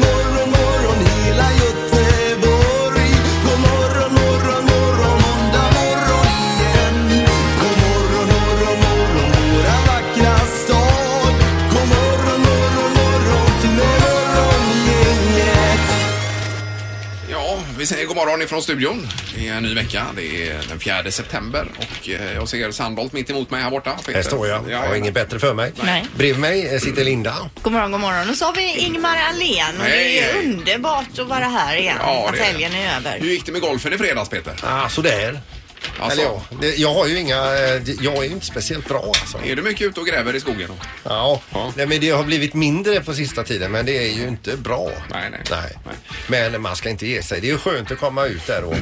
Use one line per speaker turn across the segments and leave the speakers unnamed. morgon morgon hela Göteborg. God morgon morgon morgon måndag morgon igen. God morgon morgon morgon våra vackra stad. God morgon morgon morgon till morgongänget.
Ja, vi säger god morgon ifrån studion. Det är en ny vecka. Det är den 4 september och eh, jag ser Sandholt mitt emot mig här borta. Peter.
Här står jag. Jag har inget bättre för mig.
Nej.
Bredvid mig eh, sitter Linda.
God morgon, god morgon. Och så har vi Ingmar Ahlén och det
Hej,
är
hej.
underbart att vara här igen.
Ja,
att
det är det.
helgen är
Hur
över.
gick det med golfen i fredags Peter?
Ah, sådär.
Alltså,
Eller ja, det, jag har ju inga... eh, det- Jag är ju inte speciellt bra alltså.
Är du mycket ute och gräver i skogen?
Ja,
Ja.
Nej, men det har blivit mindre på sista tiden men det är ju inte bra.
Nej, nej. Nej.
Men man ska inte ge sig. Det är ju skönt att komma ut där och...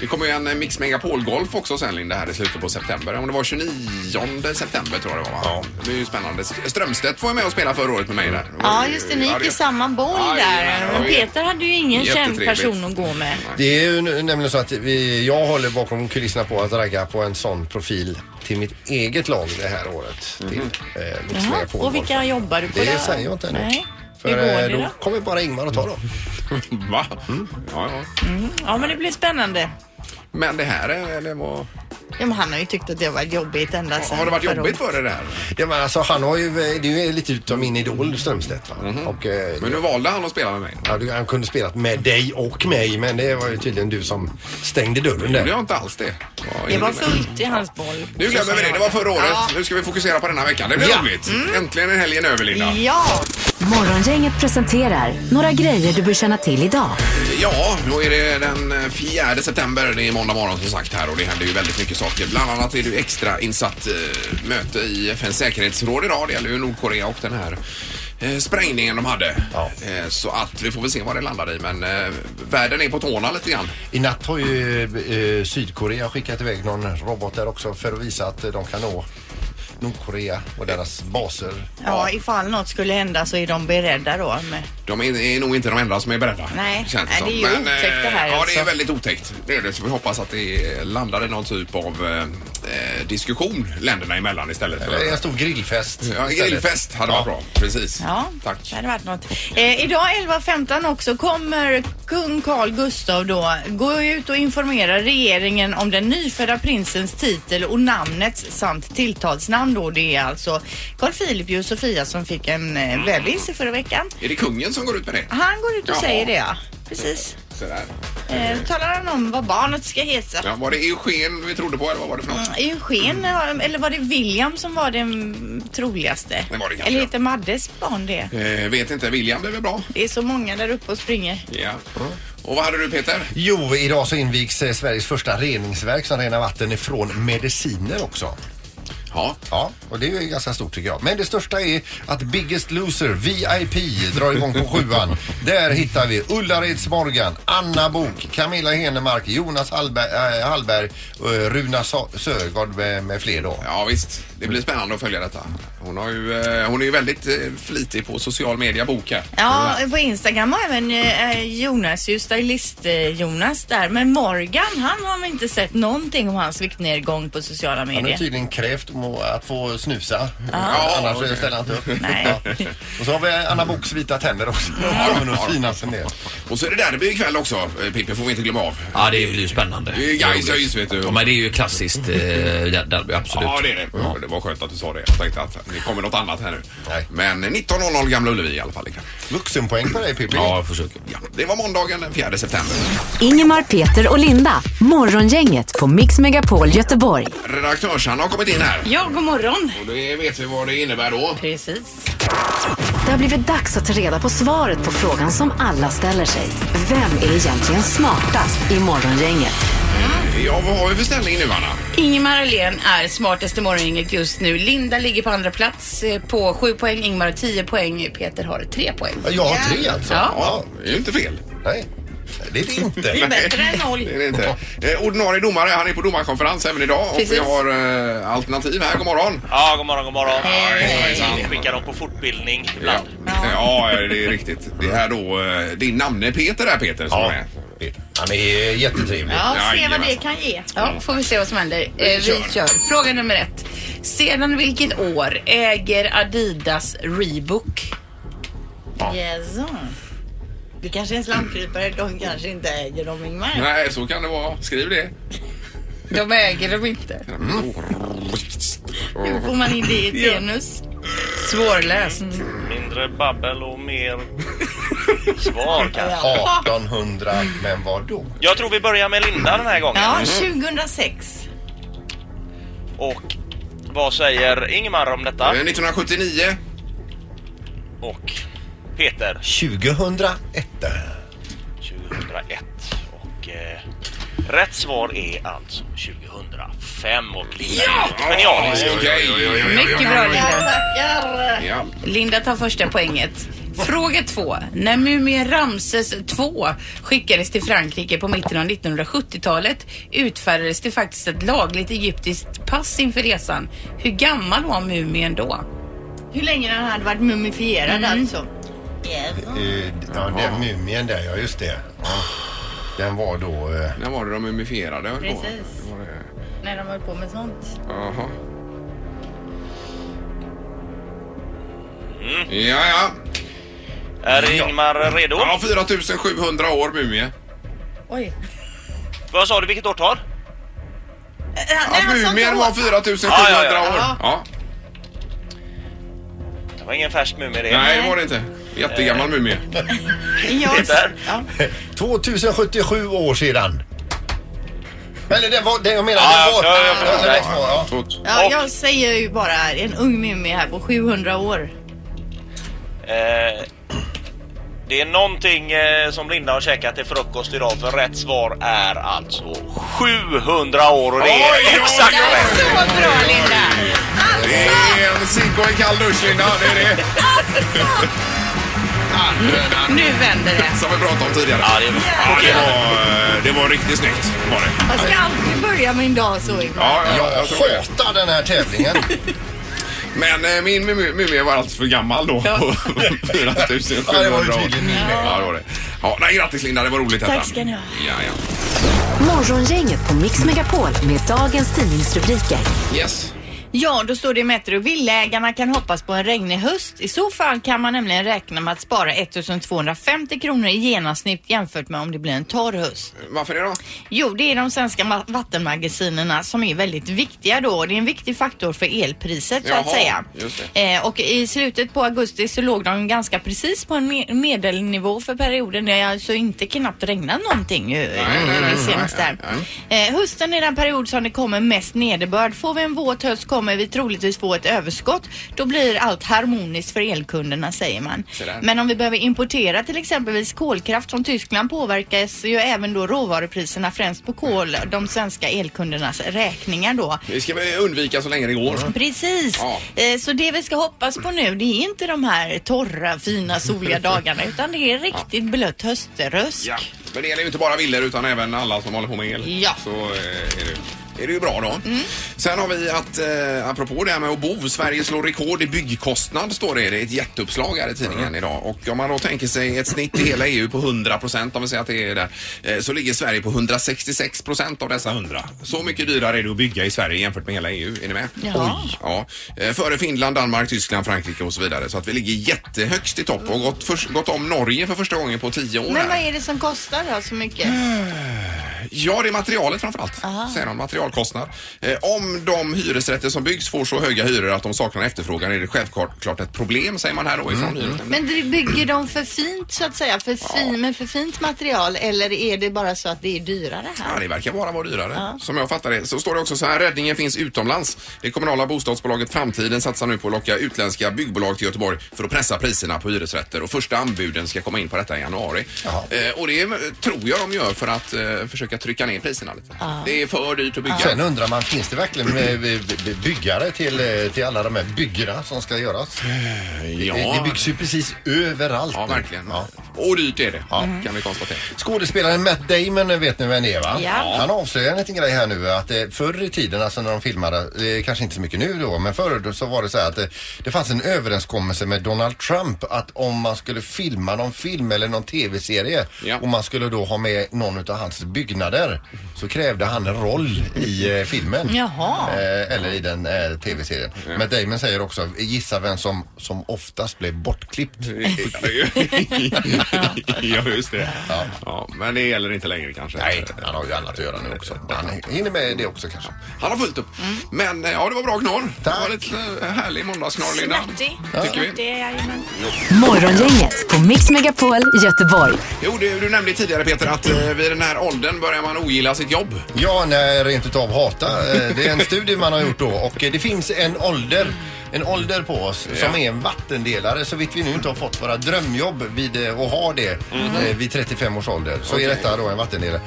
Det kommer ju en eh, Mix Megapol-golf också sen Linda här i slutet på september. Om det var 29 september tror jag det var va?
Ja.
Det blir ju spännande. Strömstedt var ju med och spelade förra året med mig där.
Ja, just det. Ni gick i samma boll
Ja, ja,
där.
ja,
Men
ja.
Peter hade ju ingen känd
Jättetrevligt.
person att gå med.
Det är ju nu- nämligen så att vi, jag håller bakom kulisserna på att ragga på en sån profil till mitt eget lag det här året.
Mhm.
Till, eh, Mix
Jaha,
Megapol
och vilka
Golf.
jobbar du på där?
Det säger jag inte ännu.
Nej.
För
Hur går
eh,
det
då
då?
kommer bara Ingmar att ta dem. Mm.
Va? Ja, ja.
Mm. Ja, men det blir spännande.
Men det här är- eller vad...
Ja, men han har ju tyckt att det har varit jobbigt ända sedan
Har det varit
förra
jobbigt
året.
för dig det här?
Ja, men alltså, han har ju, det är ju lite utav min idol Strömstedt. Va? Och, eh,
Mhm. Men nu valde han att spela med mig.
ja, du- han kunde spelat med dig och mig men det var ju tydligen du som stängde dörren
Det
där.
har inte alls det.
Det var fullt i hans boll.
Nu glömmer vi det. Det var förra året.
Ja. Mm.
Nu ska vi fokusera på denna veckan. Det blir
Ja.
roligt. Äntligen är helgen över, Linda.
Ja,
Morgongänget presenterar Några grejer du bör känna till idag.
Ja, då är det den eh, 4 september. Det är måndag morgon som sagt här och det händer ju väldigt mycket saker. Bland annat är det ju extra insatt eh, möte i FNs säkerhetsråd idag. Det gäller ju Nordkorea och den här eh, sprängningen de hade.
Ja.
Eh, Så att vi får väl se vad det landar i. Men eh, världen är på tårna lite grann.
I natt har ju eh, Sydkorea skickat iväg någon robot där också för att visa att eh, de kan nå Nordkorea och deras baser.
ja, ifall något skulle hända så är de beredda då. Men
De är, är nog inte de enda som är beredda.
Nej.
känns
Nej,
som.
det är ju
Men,
otäckt det här
eh, Ja, det är
alltså.
väldigt otäckt. Det är det. Så vi hoppas att det landar i någon typ av eh, eh, diskussion länderna emellan istället. för-
Eller en stor grillfest.
Ja, en
istället.
grillfest hade varit bra. Precis.
Ja,
Tack.
det hade varit något. Eh, idag 11.15 också kommer kung Carl Gustav då gå ut och informera regeringen om den nyfödda prinsens titel och namnet samt tilltalsnamn då. Det är alltså Carl Philip och Sofia som fick en eh, bebis i förra veckan.
Är det kungen som går ut med det?
Han går ut och
Jaha.
säger det ja. Precis.
Sådär.
Eh, talar han om vad barnet ska heta.
Ja, var det Eugen vi trodde på eller vad var det för något?
Eugen, eh, eller var det William som var den troligaste?
Det var det kanske,
eller
ja.
heter Maddes barn det?
Eh, vet inte. William blev väl bra?
Det är så många där uppe och springer.
Ja. Och vad hade du Peter?
Jo, idag så invigs eh, Sveriges första reningsverk som renar vatten ifrån mediciner också.
Ja.
Ja, och det är ju ganska stort tycker jag. Men det största är att Biggest Loser, VIP, drar igång på sjuan. Där hittar vi Ullareds Morgan, Anna Bok, Camilla Henemark, Jonas Hallberg, äh, Hallberg eh, Runa Sa- Sögaard med, med fler då.
Ja visst, det blir spännande att följa detta. Hon, har ju, eh, hon är ju väldigt eh, flitig på social media, Boka.
Ja, på Instagram har även eh, Jonas, ju stylist-Jonas där. Men Morgan, han har man inte sett någonting om hans viktnedgång på sociala
Han har
medier.
typ,
tydligen krävt må- att få snusa.
Ja,
Annars
okej.
ställer han inte upp.
Nej.
Ja. Och så har vi Anna Boks vita tänder också. Ja, men och fina sig ner.
Och så är det derby ikväll också, eh, Pippi, får vi inte glömma av.
Ja, det blir ju spännande.
Det är ju Gais och Öjs, vet du.
Ja, men det är ju klassiskt eh, där- derby, absolut.
Ja, det är det. Det var skönt att du sa det. Jag tänkte att det kommer något annat här nu.
Nej.
Men 19.00 Gamla Ullevi i alla fall ikväll.
Vuxenpoäng på dig Pippi.
Ja, jag försöker.
Ja, det var måndagen den 4 september.
Ingemar, Peter och Linda. Morgongänget på Mix Megapol Göteborg.
Redaktörs-Hanna har kommit in här.
Ja, god morgon.
Och det vet vi vad det innebär då.
Precis.
Det har blivit dags att ta reda på svaret på frågan som alla ställer sig. Vem är egentligen smartast i Morgongänget?
Ja, vad har vi för ställning nu, Anna?
Ingemar Ahlén är smartaste morgongänget just nu. Linda ligger på andra plats eh, på 7 poäng, Ingemar har 10 poäng, Peter har 3 poäng.
Jag har tre alltså.
Ja.
Ja, det är ju inte fel.
Nej. Det är det inte.
Det är bättre än
Det
noll.
är det inte. Eh, ordinarie domare, han är på domarkonferens även idag och vi
Precis.
har eh, alternativ här. God morgon!
Ja, god morgon, god morgon.
Hejsan.
Vi skickar dem på fortbildning
Ja.
ibland.
ja, det är riktigt. Det är här då eh, din namne Peter där Peter som
Ja,
är.
han är jättetrevlig.
Ja, se vad det
Jajamensan.
kan ge. Ja, får vi se vad som händer. Eh, vi
kör.
kör. Fråga nummer ett. Sedan vilket år äger Adidas Reebok?
Jaså? Det kanske är en slamkrypare. De kanske inte äger dem, Ingmar.
Nej, så kan det vara. Skriv det.
De äger dem inte. Hur får man in det i ett genus? Svårläst.
Mindre babbel och mer svar kanske.
1800, men vad då?
Jag tror vi börjar med Linda den här gången.
Ja, 2006.
Och vad säger Ingemar om detta?
Eh, 1979.
Och Peter
2001.
2001. Och eh, rätt svar är alltså 2005. Och Linda ja! genialisk.
Okej, oj, oj, oj, oj, oj.
Mycket bra Linda.
Tackar!
Ja.
Linda tar första poänget. Fråga två. När mumien Ramses II skickades till Frankrike på mitten av 1970-talet utfärdades det faktiskt ett lagligt egyptiskt pass inför resan. Hur gammal var mumien då?
Hur länge den hade varit mumifierad
Mm.
alltså.
Eh, Ja, den mumien där, ja just det. Ja. Den var då... eh,
När var det de mumifierade? höll på?
Precis.
Var det-
När de höll på med sånt.
Jaha. Ja, ja.
Mm. Är Ingemar redo?
Ja, 4700 år mumie.
Oj.
Vad sa du, vilket årtal?
Ja, mumien var 4700
Ja, ja, ja.
år. Ja.
Det var ingen färsk mumie det. Eh.
Nej, det var det inte. Jättegammal mumie.
Peter?
2077 år sedan. Eller den var... Den, jag menar,
Ja,
den var...
ja, jag förstår
den
dig.
var ja.
Så-
Ja,
Och-
jag säger ju bara en ung mumie här på 700 år.
Eh, det är någonting eh, som Linda har käkat till frukost idag för rätt svar är alltså 700 år och det
Oj, oj,
är exakt
oj, oj.
rätt.
Så bra Linda!
Det är en cink och en kall dusch, Linda. Det är det. Alltså!
Nu vänder det.
Som vi pratade om tidigare.
Ja, det är
Ja, det,
okej.
var, eh, det var riktigt snyggt. Var det.
Jag ska alltid börja min dag så Ingmar.
Ja, ja,
Jag
jag tror det.
hatar den här tävlingen.
Men eh, min mu- mumie var alltså för gammal då. på 4700
Ja, det var ju
år.
tydligen min mumie.
Ja, det var det. Ja, nej, grattis Linda, det var roligt detta.
Tack ska ni ha.
Ja, ja.
Morgongänget på Mix Megapol med dagens tidningsrubriker.
Yes.
Ja, då står det i Metro. Villägarna kan hoppas på en regnig höst. I så fall kan man nämligen räkna med att spara 1250 kronor i genomsnitt jämfört med om det blir en torr höst.
Varför det då?
Jo, det är de svenska ma- vattenmagasinerna som är väldigt viktiga då. Det är en viktig faktor för elpriset så att
Jaha,
säga.
just
Eh, och i slutet på augusti så låg de ganska precis på en me- medelnivå för perioden. Det har alltså inte knappt regnat någonting ju,
nej, nej, nej,
det senaste här.
nej,
Eh, hösten är den period som det kommer mest nederbörd. Får vi en våt höst kommer vi troligtvis få ett överskott. Då blir allt harmoniskt för elkunderna säger man.
Se där.
Men om vi behöver importera till exempelvis kolkraft från Tyskland påverkas ju även då råvarupriserna främst på kol de svenska elkundernas räkningar då.
Vi ska väl undvika så länge det går.
Precis.
Ja.
Eh, Så det vi ska hoppas på nu det är inte de här torra fina soliga dagarna utan det är riktigt blött höströst.
Ja. Men det gäller ju inte bara villor utan även alla som håller på med el.
Ja. Mm.
Så eh, är det, är det ju bra då. Sen har vi att, eh, apropå det här med att bo, Sverige slår rekord i byggkostnad står det. Det är ett jätteuppslag här i
Mm.
tidningen idag. Och om man då tänker sig ett snitt i hela EU på 100 procent, om vi säger att det är där, eh, så ligger Sverige på 166 procent av dessa 100. Så mycket dyrare är det att bygga i Sverige jämfört med hela EU. Är ni med?
Jaha.
Ja, eh, före Finland, Danmark, Tyskland, Frankrike och så vidare. Så att vi ligger jättehögst i topp och gått, först- gått om Norge för första gången på tio år.
Men
här.
vad är det som kostar då så mycket?
Ja, det är materialet framförallt.
Ah.
Säger de, materialkostnad. Eh, om de hyresrätter som byggs får så höga hyror att de saknar efterfrågan är det självklart klart ett problem, säger man här då
Mm,
ifrån hyresnämnden.
Men det bygger de för fint så att säga? För fin, Med för fint material eller är det bara så att det är dyrare
Ja,
här?
det verkar bara vara dyrare. Som jag fattar det så står det också så här. Räddningen finns utomlands. Det kommunala bostadsbolaget Framtiden satsar nu på att locka utländska byggbolag till Göteborg för att pressa priserna på hyresrätter och första anbuden ska komma in på detta i januari.
Jaha.
Eh, och det eh, tror jag de gör för att eh, försöka trycka ner priserna lite. Det är för dyrt att bygga.
Sen undrar man, finns det verkligen eh, by- by- byggare till, eh, till alla de
Eh,
här byggena som ska göras? Det- Det byggs ju precis överallt
Ja,
nu.
verkligen.
Ja.
Och dyrt är det, kan vi konstatera.
Skådespelaren Matt Damon eh, vet ni vem det är va?
Ja.
Han avslöjar en liten grej här nu att eh, förr i tiden, alltså när de filmade, eh, kanske inte så mycket nu då, men förr då så var det så här att eh, det fanns en överenskommelse med Donald Trump att om man skulle filma någon film eller någon tv-serie och man skulle då ha med någon utav hans byggnader så krävde han en roll i eh, filmen.
Jaha.
Eh, eller i den eh, tv-serien. Matt Damon säger också, gissa vem som, som oftast blev bortklippt.
ja, just det. Ja. men det gäller inte längre kanske.
Nej, han har ju annat att göra nu också. Han hinner med det också kanske.
Han har fullt upp. Men eh, ja, det var bra knorr. Tack. Det var lite eh, härlig måndagsknorr, Linda.
Snärtig.
Tycker vi.
Snärtig, jajamän.
Morgongänget på Mix Megapol Göteborg.
Jo, du, du nämnde tidigare Peter att eh, vid den här åldern börjar man ogilla sitt jobb.
Ja, nej, rent utav hata. Eh, Det är en studie man har gjort då och eh, det finns en ålder en ålder på oss som är en vattendelare så vitt vi nu inte har fått våra drömjobb vid, eh, och har det eh, vid 35 års ålder så
Mhm. Okej.
är detta då en vattendelare.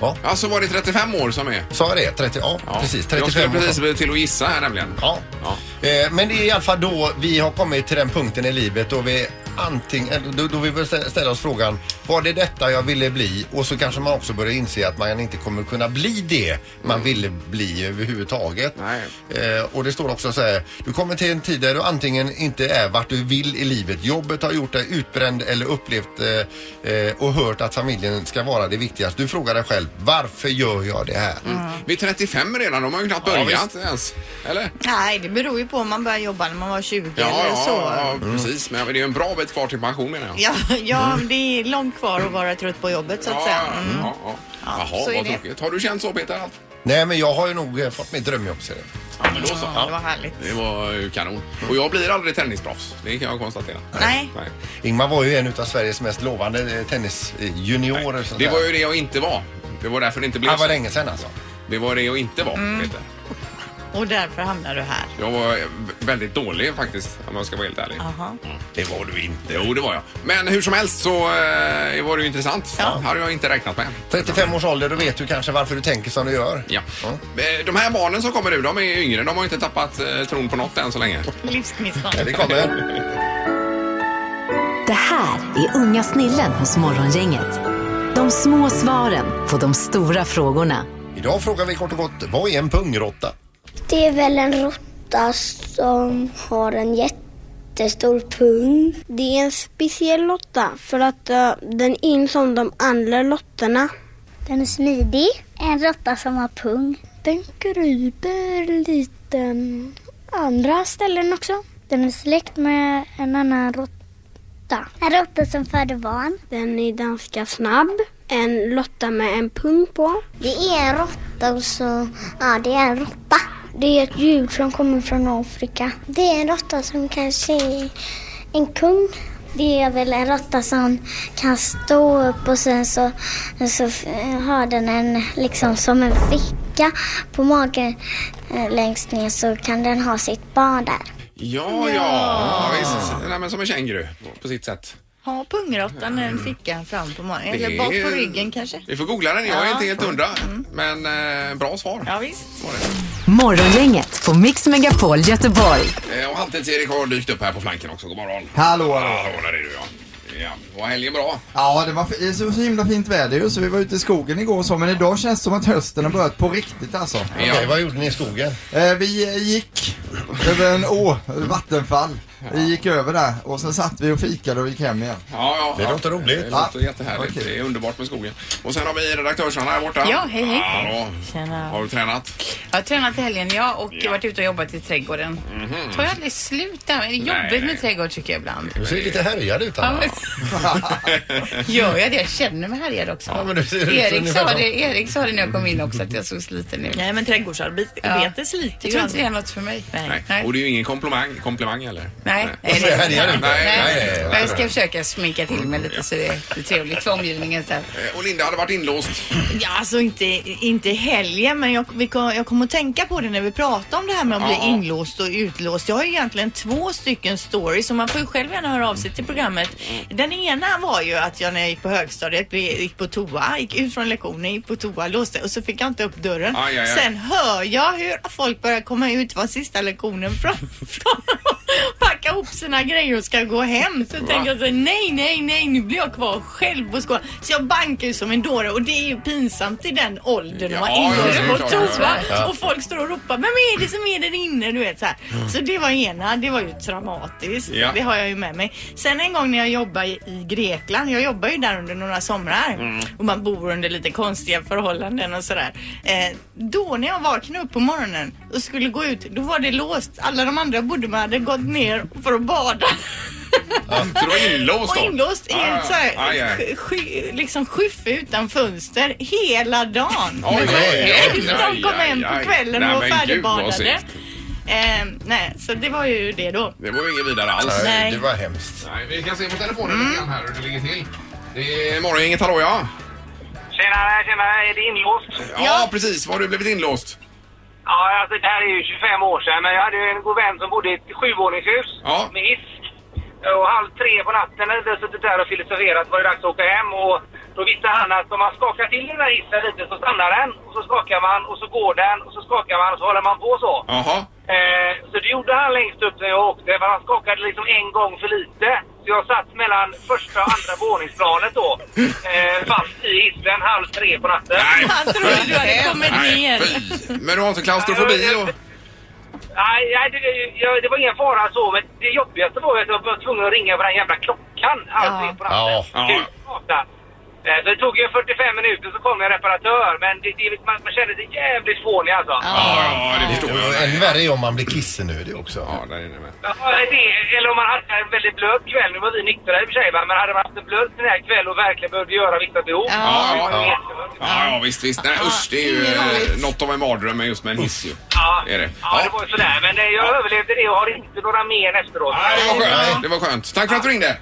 Ja.
Alltså var det 35 år som är?
Sa jag det? 30, ja, precis.
Jag
35
skulle
års
precis
ålder.
till att gissa här nämligen.
Ja. Eh, Men det är i alla fall då vi har kommit till den punkten i livet då vi antingen, eller då, då vi bör stä- ställa oss frågan var det detta jag ville bli? Och så kanske man också börjar inse att man inte kommer kunna bli det man
Mm.
ville bli överhuvudtaget. Eh, och det står också så här, du kommer till en tid där du antingen inte är vart du vill i livet. Jobbet har gjort dig utbränd eller upplevt eh, eh, och hört att familjen ska vara det viktigaste. Du frågar dig själv, varför gör jag det här?
Mm. Vid 35 redan, de har ju knappt
Ja,
börjat
visst.
ens. Eller?
Nej, det beror ju på om man börjar jobba när man var 20 eller så.
ja, precis. Men det är ju en bra bit kvar till pension menar jag.
Mm. Ja, ja, det är långt kvar att vara trött på jobbet så att säga. Mm.
Mm. Ja, ja. Jaha,
så är
vad
det.
tråkigt. Har du känt så Peter? Allt?
Nej men jag har ju nog eh, fått mitt drömjobb ser du.
Ja, men då så.
Det var härligt.
Det var ju kanon. Och jag blir aldrig tennisproffs, det kan jag konstatera.
Nej.
Nej.
Ingmar var ju en utav Sveriges mest lovande eh, tennisjuniorer. sånt
Det
där.
var ju det jag inte var. Det var därför det inte blev
Ah, vad
så.
länge sedan alltså.
Det var det jag inte var,
Mm.
Peter.
Och därför hamnar du här.
Jag var eh, väldigt dålig faktiskt, om jag ska vara helt ärlig.
Aha.
Det var du inte. Jo, det var jag. Men hur som helst så eh, var det ju intressant. Ja. hade jag inte räknat med.
35 års ålder, då vet du kanske varför du tänker som du gör.
Ja. Eh, De här barnen som kommer nu, de är ju yngre. De har ju inte tappat eh, tron på något än så länge.
Livsgnistan.
Ja, det kommer.
Det här är Unga snillen hos Morgongänget. De små svaren på de stora frågorna.
Idag frågar vi kort och gott, vad är en pungrotta?
Det är väl en råtta som har en jättestor pung. Det är en speciell lotta för att eh, den är inte som de andra lotterna. Den är smidig. En råtta som har pung. Den kryper lite andra ställen också. Den är släkt med en annan råtta. En råtta som föder barn. Den är ganska snabb. En lotta med en pung på. Det är en råtta och så... Ja, det är en råtta. Det är ett djur som kommer från Afrika. Det är en råtta som kanske är en kung. Det är väl en råtta som kan stå upp och sen så, så f- har den en liksom som en ficka på magen eh, längst ner så kan den ha sitt barn där.
Ja, ja. ja visst. Nej, men som en känguru på sitt sätt.
Ha pungråttan en ficka fram på magen.
Det
Eller bak på
är-
ryggen kanske.
Vi får googla den. Jag är
Ja.
inte helt hundra. Men eh, bra svar.
Ja, visst.
Morgongänget på Mix Megapol Göteborg.
Eh, och Halvtids-Erik har dykt upp här på flanken också. God morgon.
Hallå, hallå.
Hallå, där är du ja. ja. Var helgen bra?
Ja, det var f- så, så himla fint väder ju, så vi var ute i skogen igår och så, men idag känns det som att hösten har börjat på riktigt alltså.
Okej, vad gjorde ni i skogen?
Eh, vi eh, gick över en å, eh, vattenfall. Vi gick över där och sen satt vi och fikade och gick hem igen.
Ja, ja,
Det
ja.
låter roligt.
Det låter jättehärligt. Det är underbart med skogen. Och sen har vi redaktörsarna här borta.
Ja, hej, hej.
Hallå. Har
Tjena.
du tränat?
Jag har tränat i helgen, ja, och varit ute och jobbat i trädgården. Tar jag aldrig slut där? Det är
Nej,
jobbigt
Mm. nej.
med trädgård tycker jag ibland.
Du ser lite härjad ut
Ja,
Anna.
men, gör jag det? Jag känner mig härjad också.
Ja, men det ser ut
Erik,
ungefär
sa
så.
det, Erik sa det när jag kom in också att jag såg sliten ut.
Nej, men trädgårdsarbete sliter
Mm. Jag tror inte det är något för mig. Nej. Nej.
Och det är ju ingen komplimang, komplimang heller.
Nej,
Nej, det är det inte. Nej, nej, nej.
Men jag ska försöka sminka till mig lite så det är trevligt för omgivningen sen.
Eh, Och Linda hade varit inlåst.
Ja, alltså inte, inte i helgen, men jag, vi kom, jag kom att tänka på det när vi pratade om det här med att
Ja.
bli inlåst och utlåst. Jag har ju egentligen två stycken stories och man får ju själv gärna höra av sig till programmet. Den ena var ju att jag när jag gick på högstadiet blev- gick på toa, gick ut från lektionen, gick på toa, låste och så fick jag inte upp dörren.
Aj, aj, aj.
Sen hör jag hur folk börjar komma ut var sista lektionen från, från packa ihop sina grejer och ska gå hem. Så tänker jag så här, nej, nej, nej, nu blir jag kvar själv och skåla. Så jag bankar ju som en dåre och det är ju pinsamt i den åldern att vara
Ja, ja, det
inne
är
på
klart, ja,
toa.
ja.
Och folk står och ropar, men vad är det som är där inne? Du vet så här. Så det var ena, det var ju traumatiskt.
Ja.
Det har jag ju med mig. Sen en gång när jag jobbade i i Grekland, jag jobbade ju där under några somrar.
Mm.
Och man bor under lite konstiga förhållanden och sådär. Eh, då när jag vaknade upp på morgonen och skulle gå ut, då var det låst. Alla de andra bodde med hade gått ner för att bada.
Så du var inlåst då?
och inlåst i
Ah,
ett så här,
aj, aj.
sk- sky, liksom skyffe utan fönster hela dagen.
Oj,
Men så-
oj, oj,
de kom
aj,
hem
aj, aj.
på kvällen
Nej,
och var
men gud, vad
färdigbadade.
segt.
Eh, nej, så det var ju det då.
Det var ju inget vidare alls.
Nej. Det var
hemskt.
Nej, vi kan se på telefonen lite grann här hur det ligger till. Det är morgongänget, hallå ja.
Tjenare, tjenare. Är det inlåst?
ja. precis. Var har du blivit inlåst?
Ja, alltså, det här är ju 25 år sedan, men jag hade ju en god vän som bodde i ett sjuvåningshus
Ja.
med hiss. Och halv tre på natten hade jag suttit där och filosoferat var det dags att åka hem. Och då visste han att om man skakar till den här hissen lite så stannar den. Och så skakar man och så går den och så skakar man och så håller man på så.
Jaha.
Eh, så det gjorde han längst upp när jag åkte, för han skakade liksom en gång för lite. Så jag satt mellan första och andra våningsplanet då, eh, fast i hissen halv tre på natten.
Han
trodde du hade kommit
ner. Men du har inte klaustrofobi och...
Nej, nej det, jag, det var ingen fara så, men det jobbigaste var ju att jag var tvungen att ringa på den jävla klockan halv tre på natten.
Ja. Ja.
Ja. Eh, Så det tog ju 45 minuter så kom en reparatör, men det, det, man, man kände sig jävligt fånig alltså.
Ja, det förstår
jag. Än värre är om man blir kissnödig också.
Ja, det är det med.
Ja, det, eller om man hade en väldigt blöt kväll. Nu var vi nyktra i och för sig, va? men hade man haft en blöt sån här kväll och verkligen behövde göra vissa behov.
Ja,
det var ju
ja,
jättebra.
Ja, ja visst, visst. Nej, usch, det är ju eh, något av en mardröm just med en hiss ju.
Ja.
Är det.
ja, det var ju sådär. Men eh, jag överlevde det och har inte några men efteråt.
Nej, det var skönt. Det var skönt. Tack för att du ringde.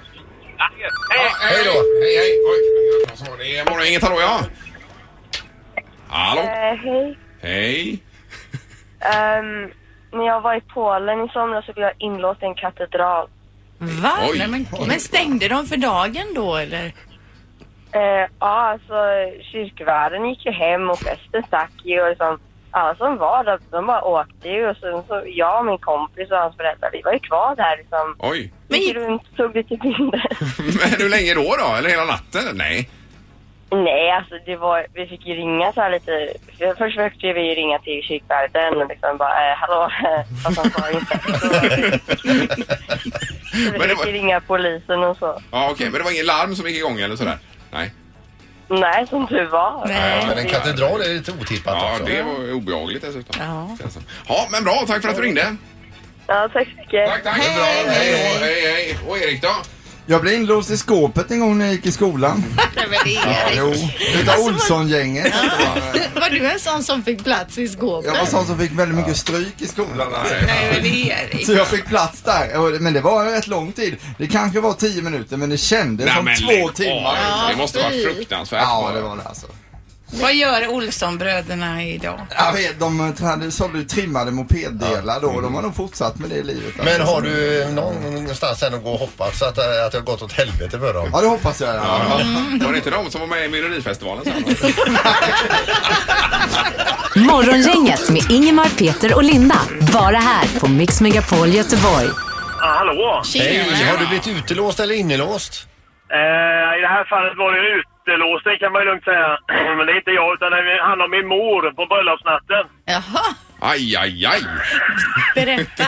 Hej!
Hej då. Hej, hej. Oj, alltså, det är morgongänget, hallå ja. Hallå.
Eh, hej.
Hej.
Ehm, när jag var i Polen i somras så blev jag inlåst i en katedral.
Va?
Oj.
Nej, men, men stängde de för dagen då eller?
Eh, ja, alltså kyrkvärden gick ju hem och festen stack ju och liksom, alla som var där, de bara åkte ju och sen så jag och min kompis och hans föräldrar, vi var ju kvar där liksom.
Oj.
Gick runt, tog lite bilder.
Men hur länge då då? Eller hela natten? Nej.
Nej, alltså det var, vi fick ju ringa så här lite. för- Först försökte vi ju ringa till kyrkvärden och liksom bara, eh, hallå, fast han svarade inte. Så, så vi
Men det
fick
var-
ju ringa polisen och så.
Ja, okej. Men det var ingen larm som gick igång eller sådär? Nej.
Nej, som tur var.
Men en katedral är lite otippat
Ja,
också.
det var ju obehagligt dessutom. Ja. ja, men bra. Tack för att du ringde.
Ja, tack så mycket.
Tack, tack. Bra. Hej, då. hej, hej. Och Erik då?
Jag blev inlåst i skåpet en gång när jag gick i skolan. Ja, jo.
Alltså,
Utav Olsson-gänget.
Var du en sån som fick plats i skåpet?
Jag var sån som fick väldigt mycket stryk i skolan.
Nej, men det är Erik.
Så jag fick plats där. Och det- Men det var en rätt lång tid. Det kanske var 10 minuter men det kändes
Nej,
som
men lägg
två
av.
timmar.
Det måste vara
fy.
fruktansvärt.
Ja, det var det alltså.
Vad gör Olsson-bröderna idag?
Jag vet, de hade- sålde ju trimmade mopeddelar då och de har nog fortsatt med det i livet.
Men
alltså.
har du någonstans sen att gå och hoppas att, eh, att det har gått åt helvete för dem?
Ja, det hoppas jag.
Ja. Var det inte de som var med i Melodifestivalen sen?
Morgongänget med Ingemar, Peter och Linda. Bara här på Mix Megapol Göteborg.
Ja, Ah, hallå!
Hej, har du blivit utelåst eller inlåst?
Eh, I det här fallet var det ju utelåsning kan man ju lugnt säga. Men det är inte jag, utan det handlar om min mor på bröllopsnatten.
Jaha,
Aj, aj, aj.
berätta.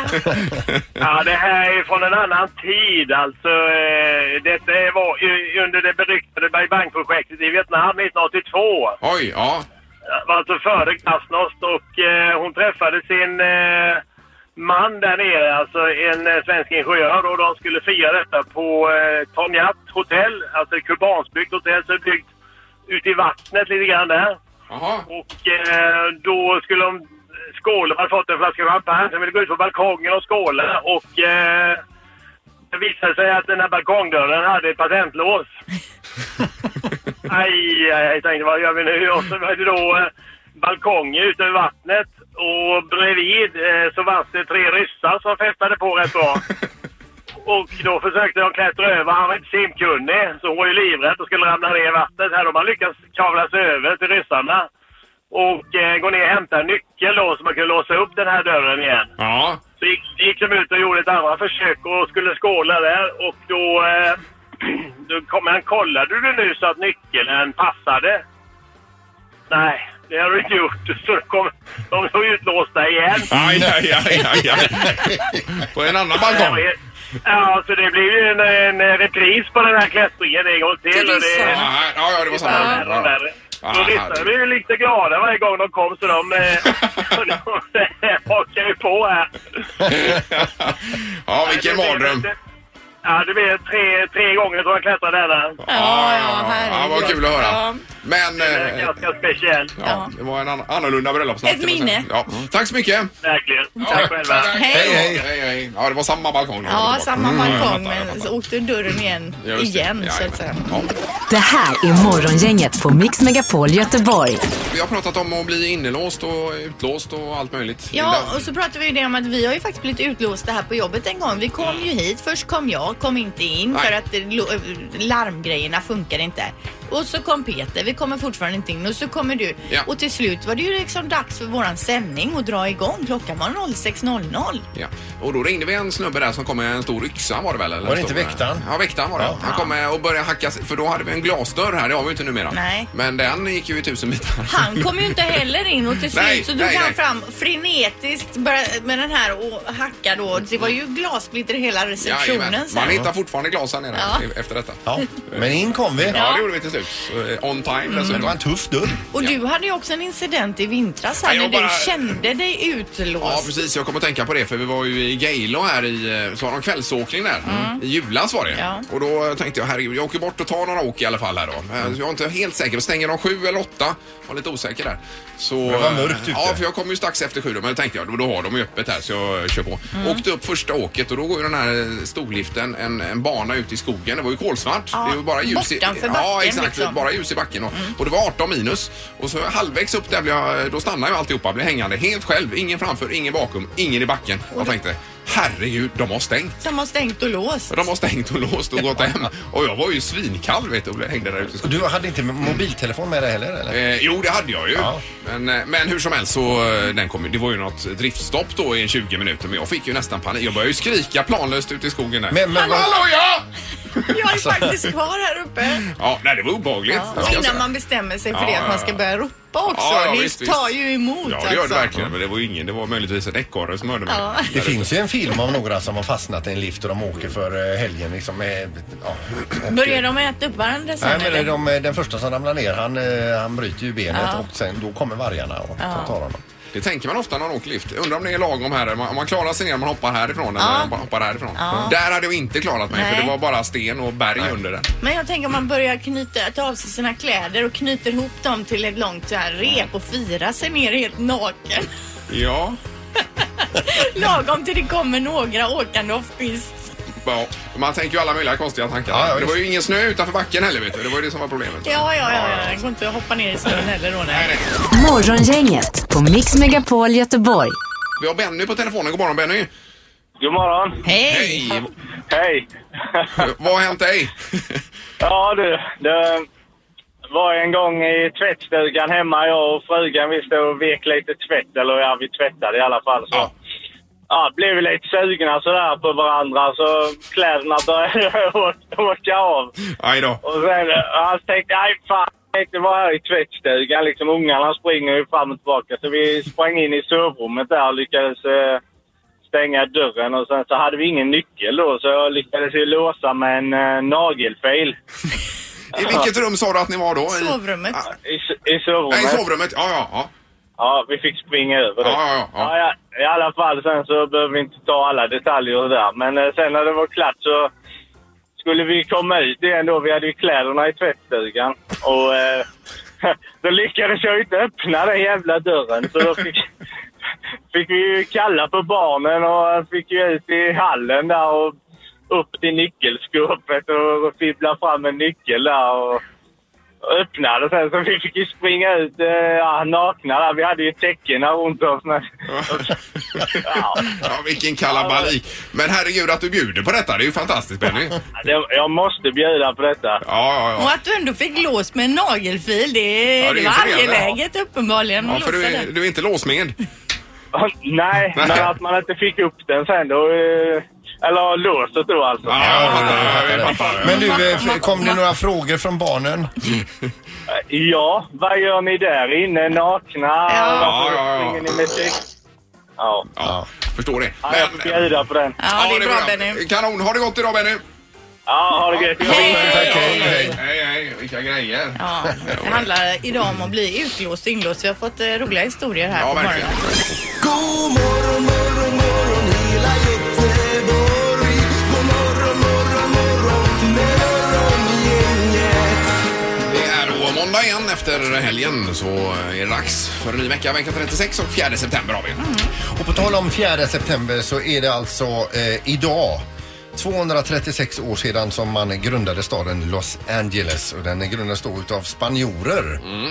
Ja, det här är från en annan tid. Alltså, eh, detta var ju under det beryktade Bai Bang-projektet i Vietnam 1982.
Oj, ja.
var alltså före Glasnost och eh, hon träffade sin eh, man där nere, alltså en eh, svensk ingenjör och de skulle fira detta på eh, Tonjat hotell, alltså ett kubansbyggt hotell som är byggt ute i vattnet lite grann där. Och eh, då skulle de skåla, hade fått en flaska champagne, sen ville gå ut på balkongen och skåla och eh, det visade sig att den här balkongdörren hade ett patentlås. Aj, jag tänkte vad gör vi nu? Och så var det då eh, balkonger ute över vattnet och bredvid eh, så fanns det tre ryssar som festade på rätt bra. Och då försökte de klättra över, han var inte simkunnig så hon var ju livrädd och skulle ramla ner i vattnet. Här de har lyckats kavla sig över till ryssarna och eh, gå ner och hämta en nyckel då så man kunde låsa upp den här dörren igen.
Ja.
Så gick, gick de ut och gjorde ett annat försök och skulle skåla där och då... Eh, då kom han, kollade du nu så att nyckeln passade? Nej, det har du inte gjort. Så de kom, de var utlåsta igen.
Aj, aj, aj, aj, aj. På en annan balkong.
Ja, så det blir ju en, en repris på den här klättringen en gång till. Och det,
Ja, ja, ja, det var samma.
Ja.
Ja. Ja,
Då
herregud.
lyssnade vi ju lite glada varje gång de kom så de, eh, de hakar ju på här.
Ja, vilken
Nej, det blir
mardröm.
inte- Ja, det blev tre, tre gånger som jag klättrade denna.
Ja, ja, ja, vad kul att höra. Men... eh,
Ganska speciell.
Ja, det var en an- annorlunda bröllopsnatt.
Ett
kan man säga.
minne.
Ja. Tack så mycket.
Verkligen. Tack själva.
Hej, hej. hej, hej. Ja, det var samma balkong.
Ja, samma balkong
Ja, jag fattar,
men så åkte dörren igen.
Mm. Just det.
Igen så att säga.
Det här är Morgongänget på Mix Megapol Göteborg.
jag fattar. Vi har pratat om att bli inlåst och utlåst och allt möjligt.
Ja,
Linda.
och så pratade vi ju det om att vi har ju faktiskt blivit utlåsta här på jobbet en gång. Vi kom ju hit. Först kom jag, kom inte in för att det lo- eh, larmgrejerna funkar inte. Och så kom Peter, vi kommer fortfarande inte in. Och så kommer du.
Ja.
Och till slut var det ju liksom dags för våran sändning att dra igång. Klockan var 06.00.
Ja. Och då ringde vi en snubbe där som kom med en stor yxa var det väl? Eller
Var
en
det inte
stor-
väktaren?
Ja, väktaren var det. Han kom med och började hacka, sig- för då hade vi en glasdörr här, det har vi ju inte numera.
Nej.
Men den gick ju i tusen bitar.
Han kom ju inte heller in och till slut
Nej,
så
nej,
drog han
nej.
fram frenetiskt började- med den här och hackade och det var ju glassplitter i hela receptionen
Jajamän. Man hittar fortfarande glas här nere
Ja.
efter detta.
Men in kom vi.
Ja, det gjorde vi till slut. Så, eh, On time dessutom.
Men det var en tuff dörr.
Och du hade ju också en incident i vintras här
Nej, jag
när
bara-
du kände dig utlåst.
Ja, precis. Jag kom att tänka på det för vi var ju i Gaylå här i, eh, så har de kvällsåkning där. I julas var det.
Ja.
Och då tänkte jag, herregud, jag åker bort och tar några åk i alla fall här då. Eh, Jag är inte helt säker. Och stänger de sju eller åtta? Var lite osäker där. Så, eh,
Det var mörkt ute.
Ja, för jag kom ju strax efter sju då, men då tänkte jag, då, då har de ju öppet här så jag kör på.
Mm.
Åkte upp första åket och då går ju den här eh, storliften en, en bana ut i skogen. Det var ju kolsvart.
Ja,
det var bara ljus i,
bortanför
Ja,
backen
exakt.
liksom.
Bara ljus i backen. Och, och det var 18 minus. Och så halvvägs upp där blev jag, då stannade jag alltihopa. Blev hängande helt själv. Ingen framför, ingen bakom, ingen i backen. Jag tänkte, herregud, de har stängt.
De har stängt och låst.
De har stängt och låst och gått hem. Och jag var ju svinkall vet du och blev- hängde där ute. i skogen.
Du hade inte mobiltelefon med dig heller eller?
Eh, jo, det hade jag ju.
Ja.
Men, eh, men hur som helst så eh, den kom, ju- det var ju något driftstopp då i 20 minuter. Men jag fick ju nästan panik. Jag började ju skrika planlöst ute i skogen där.
Men- Alltså. men vad-
Hallå, ja!
Jag är faktiskt kvar här uppe.
Ja, nej, det var obehagligt. ska jag säga.
Innan man bestämmer sig för
Ja,
det att man
ja,
ska
ja.
börja ropa också.
Ja, ja,
det
visst,
tar
visst.
ju emot
Ja, det gör
alltså.
det verkligen. Men det var ju ingen. Det var möjligtvis en ekorre som hörde mig.
Ja.
Det finns ju en film om några som har fastnat i en lift och de åker för eh, helgen liksom. Med, ja, och- eh,
Börjar de äta upp varandra sen
Nej, men
eller?
de, den första som ramlar ner han, eh, han bryter ju benet
Ja.
och sen då kommer vargarna och
Ja.
tar honom.
Det tänker man ofta när man åker lift. Undrar om det är lagom här. Om man- om man klarar sig ner om man hoppar härifrån eller
Ja.
om man hoppar härifrån.
Ja.
Där hade jag inte klarat mig för
Nej.
det var bara sten och berg under den.
Men jag tänker om man börjar knyta, ta av sig sina kläder och knyter ihop dem till ett långt så här rep och firar sig ner helt naken.
Ja.
Lagom till det kommer några åkande off-pist.
ja. Man tänker ju alla möjliga konstiga tankar.
Ja, ja,
det
visst.
var ju ingen snö utanför backen heller vet du. Det var ju det som var problemet.
Ja, ja, ja, ja. Det går inte att hoppa ner i snön heller då. Nej.
Morgongänget på Mix Megapol Göteborg.
Vi har Benny på telefonen. God morgon Benny.
God morgon.
Hej.
Hej.
Hej.
Vad har hänt dig?
Ja du, det var en gång i tvättstugan hemma. Jag och frugan vi stod och vek lite tvätt, eller ja, vi tvättade i alla fall. Så. Ja. blev vi lite sugna sådär på varandra så kläderna började å- åka av.
Aj då.
Och sen han tänkte, aj fan, jag tänkte vara här i tvättstugan liksom. Ungarna springer ju fram och tillbaka. Så vi sprang in i sovrummet där och lyckades eh, stänga dörren och sen så hade vi ingen nyckel då så jag lyckades ju låsa med en eh, nagelfil.
I vilket rum sa du att ni var då? I-
Sovrummet.
I, s- i sovrummet.
Nej, i sovrummet. Ja, ja, ja.
Ja, vi fick springa över det.
Ja, ja, ja.
ja. ja, I alla fall, sen så behöver vi inte ta alla detaljer och sådär. Men eh, sen när det var klart så skulle vi komma ut igen då. Vi hade ju kläderna i tvättstugan. Och eh, då lyckades jag ju inte öppna den jävla dörren. Så då fick, fick vi ju kalla på barnen och fick ju ut i hallen där och upp till nyckelskåpet och fibbla fram en nyckel där. Och, och öppnade sen så vi fick ju springa ut eh, ja, nakna där. Vi hade ju täckena runt oss. Men...
Ja, vilken kalabalik. Men herregud att du bjuder på detta. Det är ju fantastiskt Benny.
det- Jag måste bjuda på detta. Ja,
ja, ja.
Och att du ändå fick lås med en nagelfil, det,
Ja, det är
det var
imponerande.
angeläget uppenbarligen.
Ja,
att
för du
låsa
är,
den.
du är inte låsmed.
Nej, men att man inte fick upp den sen då. eh, Eller låset då alltså.
Men
Mm.
du, eh, f- kom det några frågor från barnen?
Ja, vad gör ni där inne nakna? Varför
ja, ja.
springer ni med sex? Ja.
Ja, förstår det.
Ja, jag ska bjuda på den.
Ja, det är bra, Benny. Kanon, har det gott idag Benny!
Ja, ha det gött.
Hej, hej, hej, hej, hej, vilka grejer.
Ja, det handlar idag om att bli utlåst och inlåst. Vi har fått eh, roliga historier här på morgonen.
God morgon, morgon, morgon hela Göteborg. God morgon, morgon, morgon morgongänget.
Det är då måndag igen efter helgen så är det dags för en ny vecka, vecka 36 och 4 september har vi.
Och på tal om 4 september så är det alltså eh, idag 236 år sedan som man grundade staden Los Angeles och den grundades då utav spanjorer. Mm.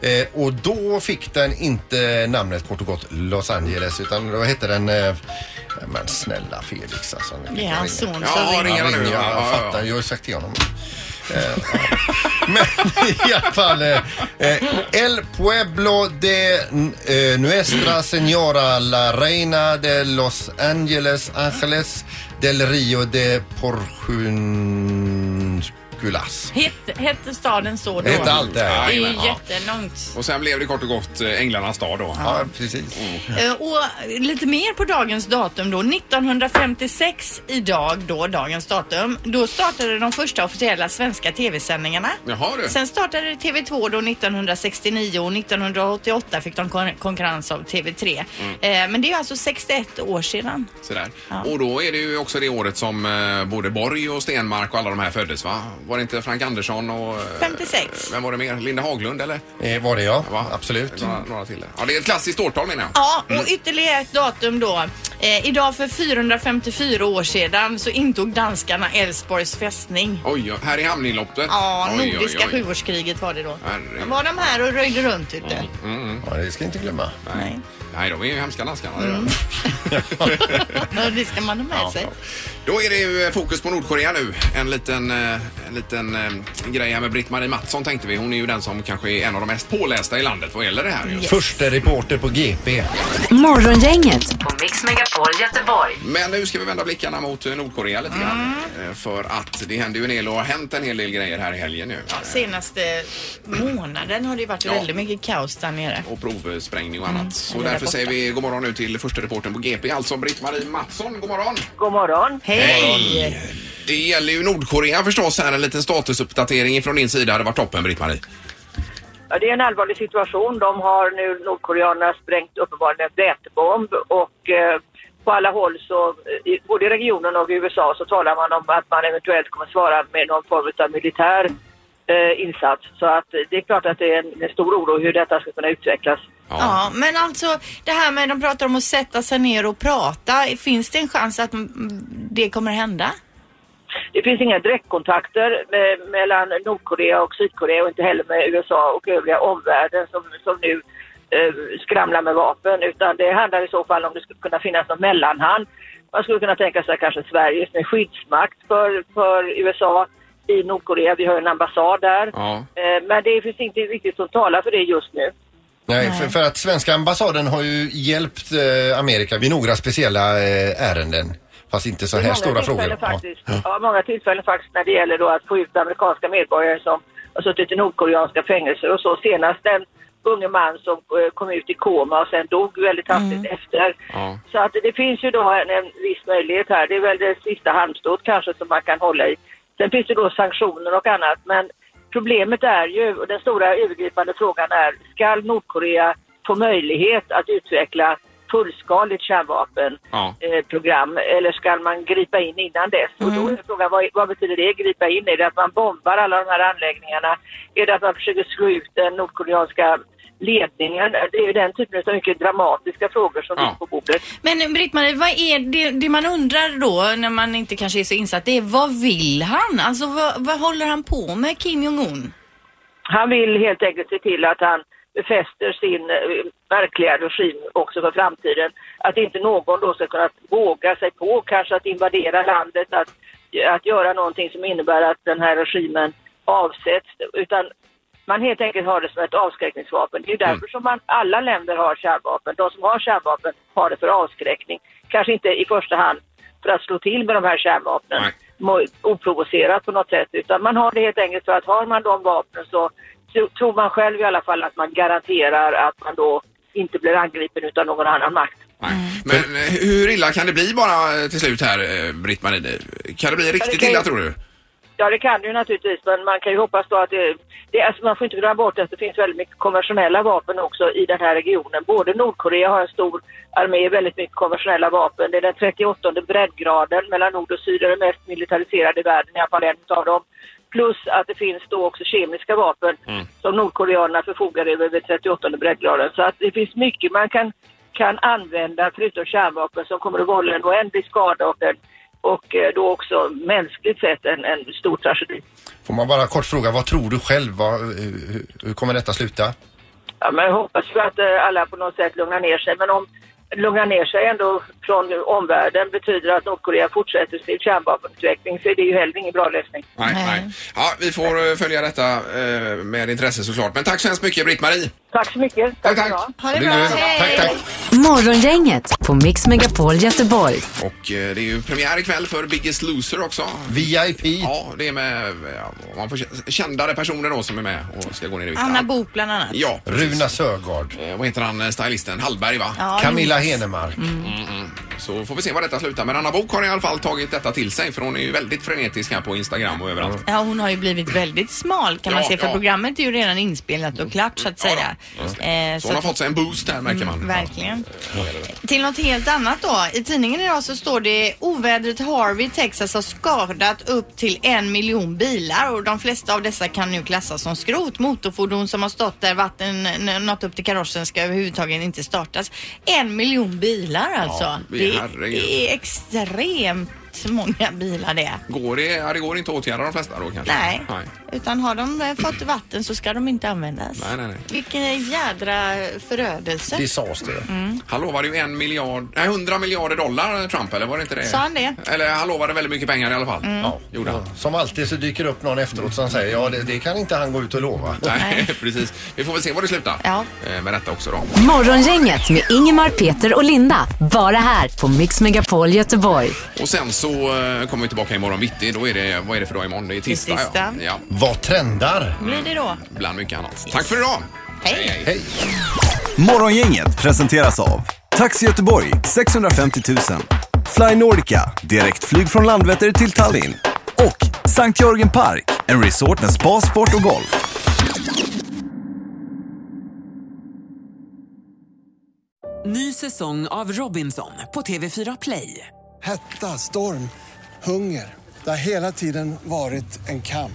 Eh, och då fick den inte namnet kort och gott Los Angeles utan då hette den eh, men snälla Felix alltså. nu fick
Det är
jag
hans
ringa.
son som Ja, ringer.
Han
ringer nu.
Jag,
Ja, ja, ja.
fattar, jag har ju sagt till honom. Eh, ja. Men i alla fall eh, eh, El Pueblo de eh, Nuestra Señora La Reina de Los Angeles Angeles del Rio de Porjunculas.
Hette, hette staden så då?
Hette allt det här.
Det är ju
Jajamän, ja.
jättelångt.
Och sen blev det kort och gott eh, Änglarnas dag då. Mm.
Ja, precis.
Eh, Och lite mer på dagens datum då. 1956 idag då, dagens datum. Då startade de första officiella svenska tv-sändningarna.
Jaha du.
Sen startade TV2 då 1969 och 1988 fick de kon- konkurrens av TV3.
Mm.
Eh, Men det är alltså 61 år sedan.
Sådär. Och då är det ju också det året som eh, både Borg och Stenmark och alla de här föddes va? Var det inte Frank Andersson och... eh,
56.
Vem var det mer? Linda Haglund eller?
Eh, var det ja, absolut.
Några, några till. där. Ja, det är ett klassiskt årtal menar jag. Mm.
Ja, och ytterligare ett datum då. Eh, idag för 454 år sedan så intog danskarna Älvsborgs fästning.
Oj, oj, här i hamninloppet.
Ja,
Oj, oj,
Nordiska
oj.
sjuårskriget var det då.
Herregud.
var de här och röjde runt ute.
Mm, mm.
Ja, det ska jag inte glömma.
Nej. Nej, de är ju hemska danskarna. det är
Mm.
de.
Ja, det ska man ha med
Ja,
sig.
ja. Då är det ju eh, fokus på Nordkorea nu. En liten, eh, en liten eh, grej här med Britt-Marie Mattsson tänkte vi. Hon är ju den som kanske är en av de mest pålästa i landet vad gäller det här. Just.
Förste reporter på GP.
Morgongänget
På Mix Megapol Göteborg.
Men nu ska vi vända blickarna mot eh, Nordkorea lite grann.
Mm.
Eh, För att det händer ju en del och har hänt en hel del grejer här i helgen nu.
Senaste månaden har det ju varit
Ja.
väldigt mycket kaos där nere.
Och provsprängning och annat. Så
eller
därför
där borta.
säger vi god morgon nu till första reportern på GP, alltså Britt-Marie Mattsson. God morgon!
God morgon.
Hej! Det gäller ju Nordkorea förstås här. En liten statusuppdatering från din sida hade varit toppen, Britt-Marie.
Ja, det är en allvarlig situation. De har nu, Nordkoreanerna, sprängt uppenbarligen en vätebomb och eh, på alla håll så, eh, i- både i regionen och i USA så talar man om att man eventuellt kommer svara med någon form av militär eh, insats. Så att eh, det är klart att det är en, en stor oro hur detta ska kunna utvecklas.
Ja. men alltså det här med de pratar om att sätta sig ner och prata. Finns det en chans att mm, det kommer hända?
Det finns inga direktkontakter eh, mellan Nordkorea och Sydkorea och inte heller med USA och övriga omvärlden som, som nu eh, skramlar med vapen utan det handlar i så fall om det skulle kunna finnas någon mellanhand. Man skulle kunna tänka sig kanske Sverige som är skyddsmakt för, för USA i Nordkorea. Vi har ju en ambassad där.
Ja.
Eh, men det finns inte riktigt som talar för det just nu.
Nej, för, för att svenska ambassaden har ju hjälpt eh, Amerika vid några speciella eh, ärenden. Fast inte så
Vid
här
många
stora
tillfällen
frågor.
Faktiskt, ja. många tillfällen faktiskt när det gäller då att få ut amerikanska medborgare som har suttit i nordkoreanska fängelser och så. Senast en unge man som eh, kom ut i koma och sen dog väldigt
Mm.
hastigt efter.
Ja.
Så att det finns ju då en, en viss möjlighet här. Det är väl det sista halmstrået kanske som man kan hålla i. Sen finns det då sanktioner och annat men problemet är ju, och den stora övergripande frågan är, skall Nordkorea få möjlighet att utveckla fullskaligt kärnvapen?
Ja.
eh, program eller ska man gripa in innan dess? Och då är frågan vad, vad betyder det gripa in? Är det att man bombar alla de här anläggningarna? Är det att man försöker slå ut den nordkoreanska ledningen? Det är ju den typen av mycket dramatiska frågor som ligger på bordet.
Men Britt-Marie, vad är det, det man undrar då när man inte kanske är så insatt? Det är vad vill han? Alltså vad, vad håller han på med, Kim Jong-Un?
Han vill helt enkelt se till att han befäster sin eh, verkliga regim också för framtiden. Att inte någon då ska kunna våga sig på kanske att invadera landet, att, att göra någonting som innebär att den här regimen avsätts. Utan man helt enkelt har det som ett avskräckningsvapen. Det är ju därför som man, alla länder har kärnvapen. De som har kärnvapen har det för avskräckning. Kanske inte i första hand för att slå till med de här kärnvapnen mo- oprovocerat på något sätt. Utan man har det helt enkelt för att har man de vapnen så tro- tror man själv i alla fall att man garanterar att man då inte blir angripen utav någon annan makt.
Men eh, hur illa kan det bli bara eh, till slut här, eh, Britt-Marie? Kan det bli riktigt
kan ju-
illa tror du?
Ja, det kan det ju naturligtvis, men man kan ju hoppas då att det, det alltså man får inte glömma bort att det finns väldigt mycket konventionella vapen också i den här regionen. Både Nordkorea har en stor armé, väldigt mycket konventionella vapen. Det är den 38 breddgraden mellan nord och syd, är den mest militariserade i världen, i alla fall en av dem. Plus att det finns då också kemiska vapen
Mm.
som Nordkoreanerna förfogar över vid 38 breddgraden. Så att det finns mycket man kan, kan använda förutom kärnvapen som kommer att vålla en oändlig skada och, en, och eh, då också mänskligt sett en, en stor tragedi.
Får man bara kort fråga, vad tror du själv? Vad, eh, hur, hur kommer detta sluta?
Ja, men jag hoppas ju att eh, alla på något sätt lugnar ner sig. Men om lugnar ner sig ändå från omvärlden betyder att Nordkorea fortsätter sin kärnvapenutveckling så är det ju heller ingen bra lösning.
Nej, nej. Ja, vi får eh, följa detta eh, med intresse såklart. Men tack så hemskt mycket Britt-Marie.
Tack så mycket. Tack, tack. Ha
det bra. Hej. Tack, tack.
Morgongänget på Mix Megapol Göteborg.
Och eh, det är ju premiär ikväll för Biggest Loser också.
VIP.
Ja, det är med ja, man får, kä- kändare personer då som är med och ska gå ner i vikt.
Anna Bok bland annat.
Ja,
Runa Sögaard.
Eh, vad heter han, eh, stylisten? Hallberg va?
Ja, Camilla minst.
Henemark.
Mm. mm. Så får vi se var detta slutar. Men Anna Bok har i alla fall tagit detta till sig för hon är ju väldigt frenetisk här på Instagram och
Mm.
överallt.
Ja, hon har ju blivit väldigt smal kan
Ja,
man se för
ja.
programmet är ju redan inspelat och klart så att säga. Eh,
Så hon har fått sig en boost där märker man.
Mm, verkligen. Till något helt annat då. I tidningen idag så står det ovädret Harvey i Texas har skadat upp till en miljon bilar och de flesta av dessa kan nu klassas som skrot. Motorfordon som har stått där vatten n- nått upp till karossen ska överhuvudtaget inte startas. En miljon bilar alltså.
vi-
det
herregud.
är extremt många bilar det.
Går det, ja, det går inte att åtgärda de flesta då kanske?
Nej.
Nej,
Utan har de eh, fått vatten så ska de inte användas.
nej, nej. nej.
Vilken jädra förödelse.
Disaster.
Mm.
Han lovade ju en miljard, nej 100 miljarder dollar eh, Trump eller var det inte det?
Sa han det?
Eller han lovade väldigt mycket pengar i alla fall.
Mm.
Ja, gjorde han.
Som alltid så dyker det upp någon efteråt som säger ja det, det kan inte han gå ut och lova.
Nej, precis. Vi får väl se var det slutar Eh,
ja.
med detta också då.
Morgongänget med Ingemar, Peter och Linda. Bara här på Mix Megapol Göteborg.
Och sen så eh, kommer vi tillbaka imorgon bitti. Då är det, vad är det för dag imorgon? Det är tisdag.
tisdag.
Ja. ja,
Vad trendar?
Blir det då?
bland mycket annat. Tack för idag!
Hej!
Hej!
Morgongänget presenteras av Taxi Göteborg 650 000 Fly Nordica, direktflyg från Landvetter till Tallinn och Sankt Jörgen Park, en resort med spa, sport och golf.
Ny säsong av Robinson på TV4 Play.
Hetta, storm, hunger. Det har hela tiden varit en kamp.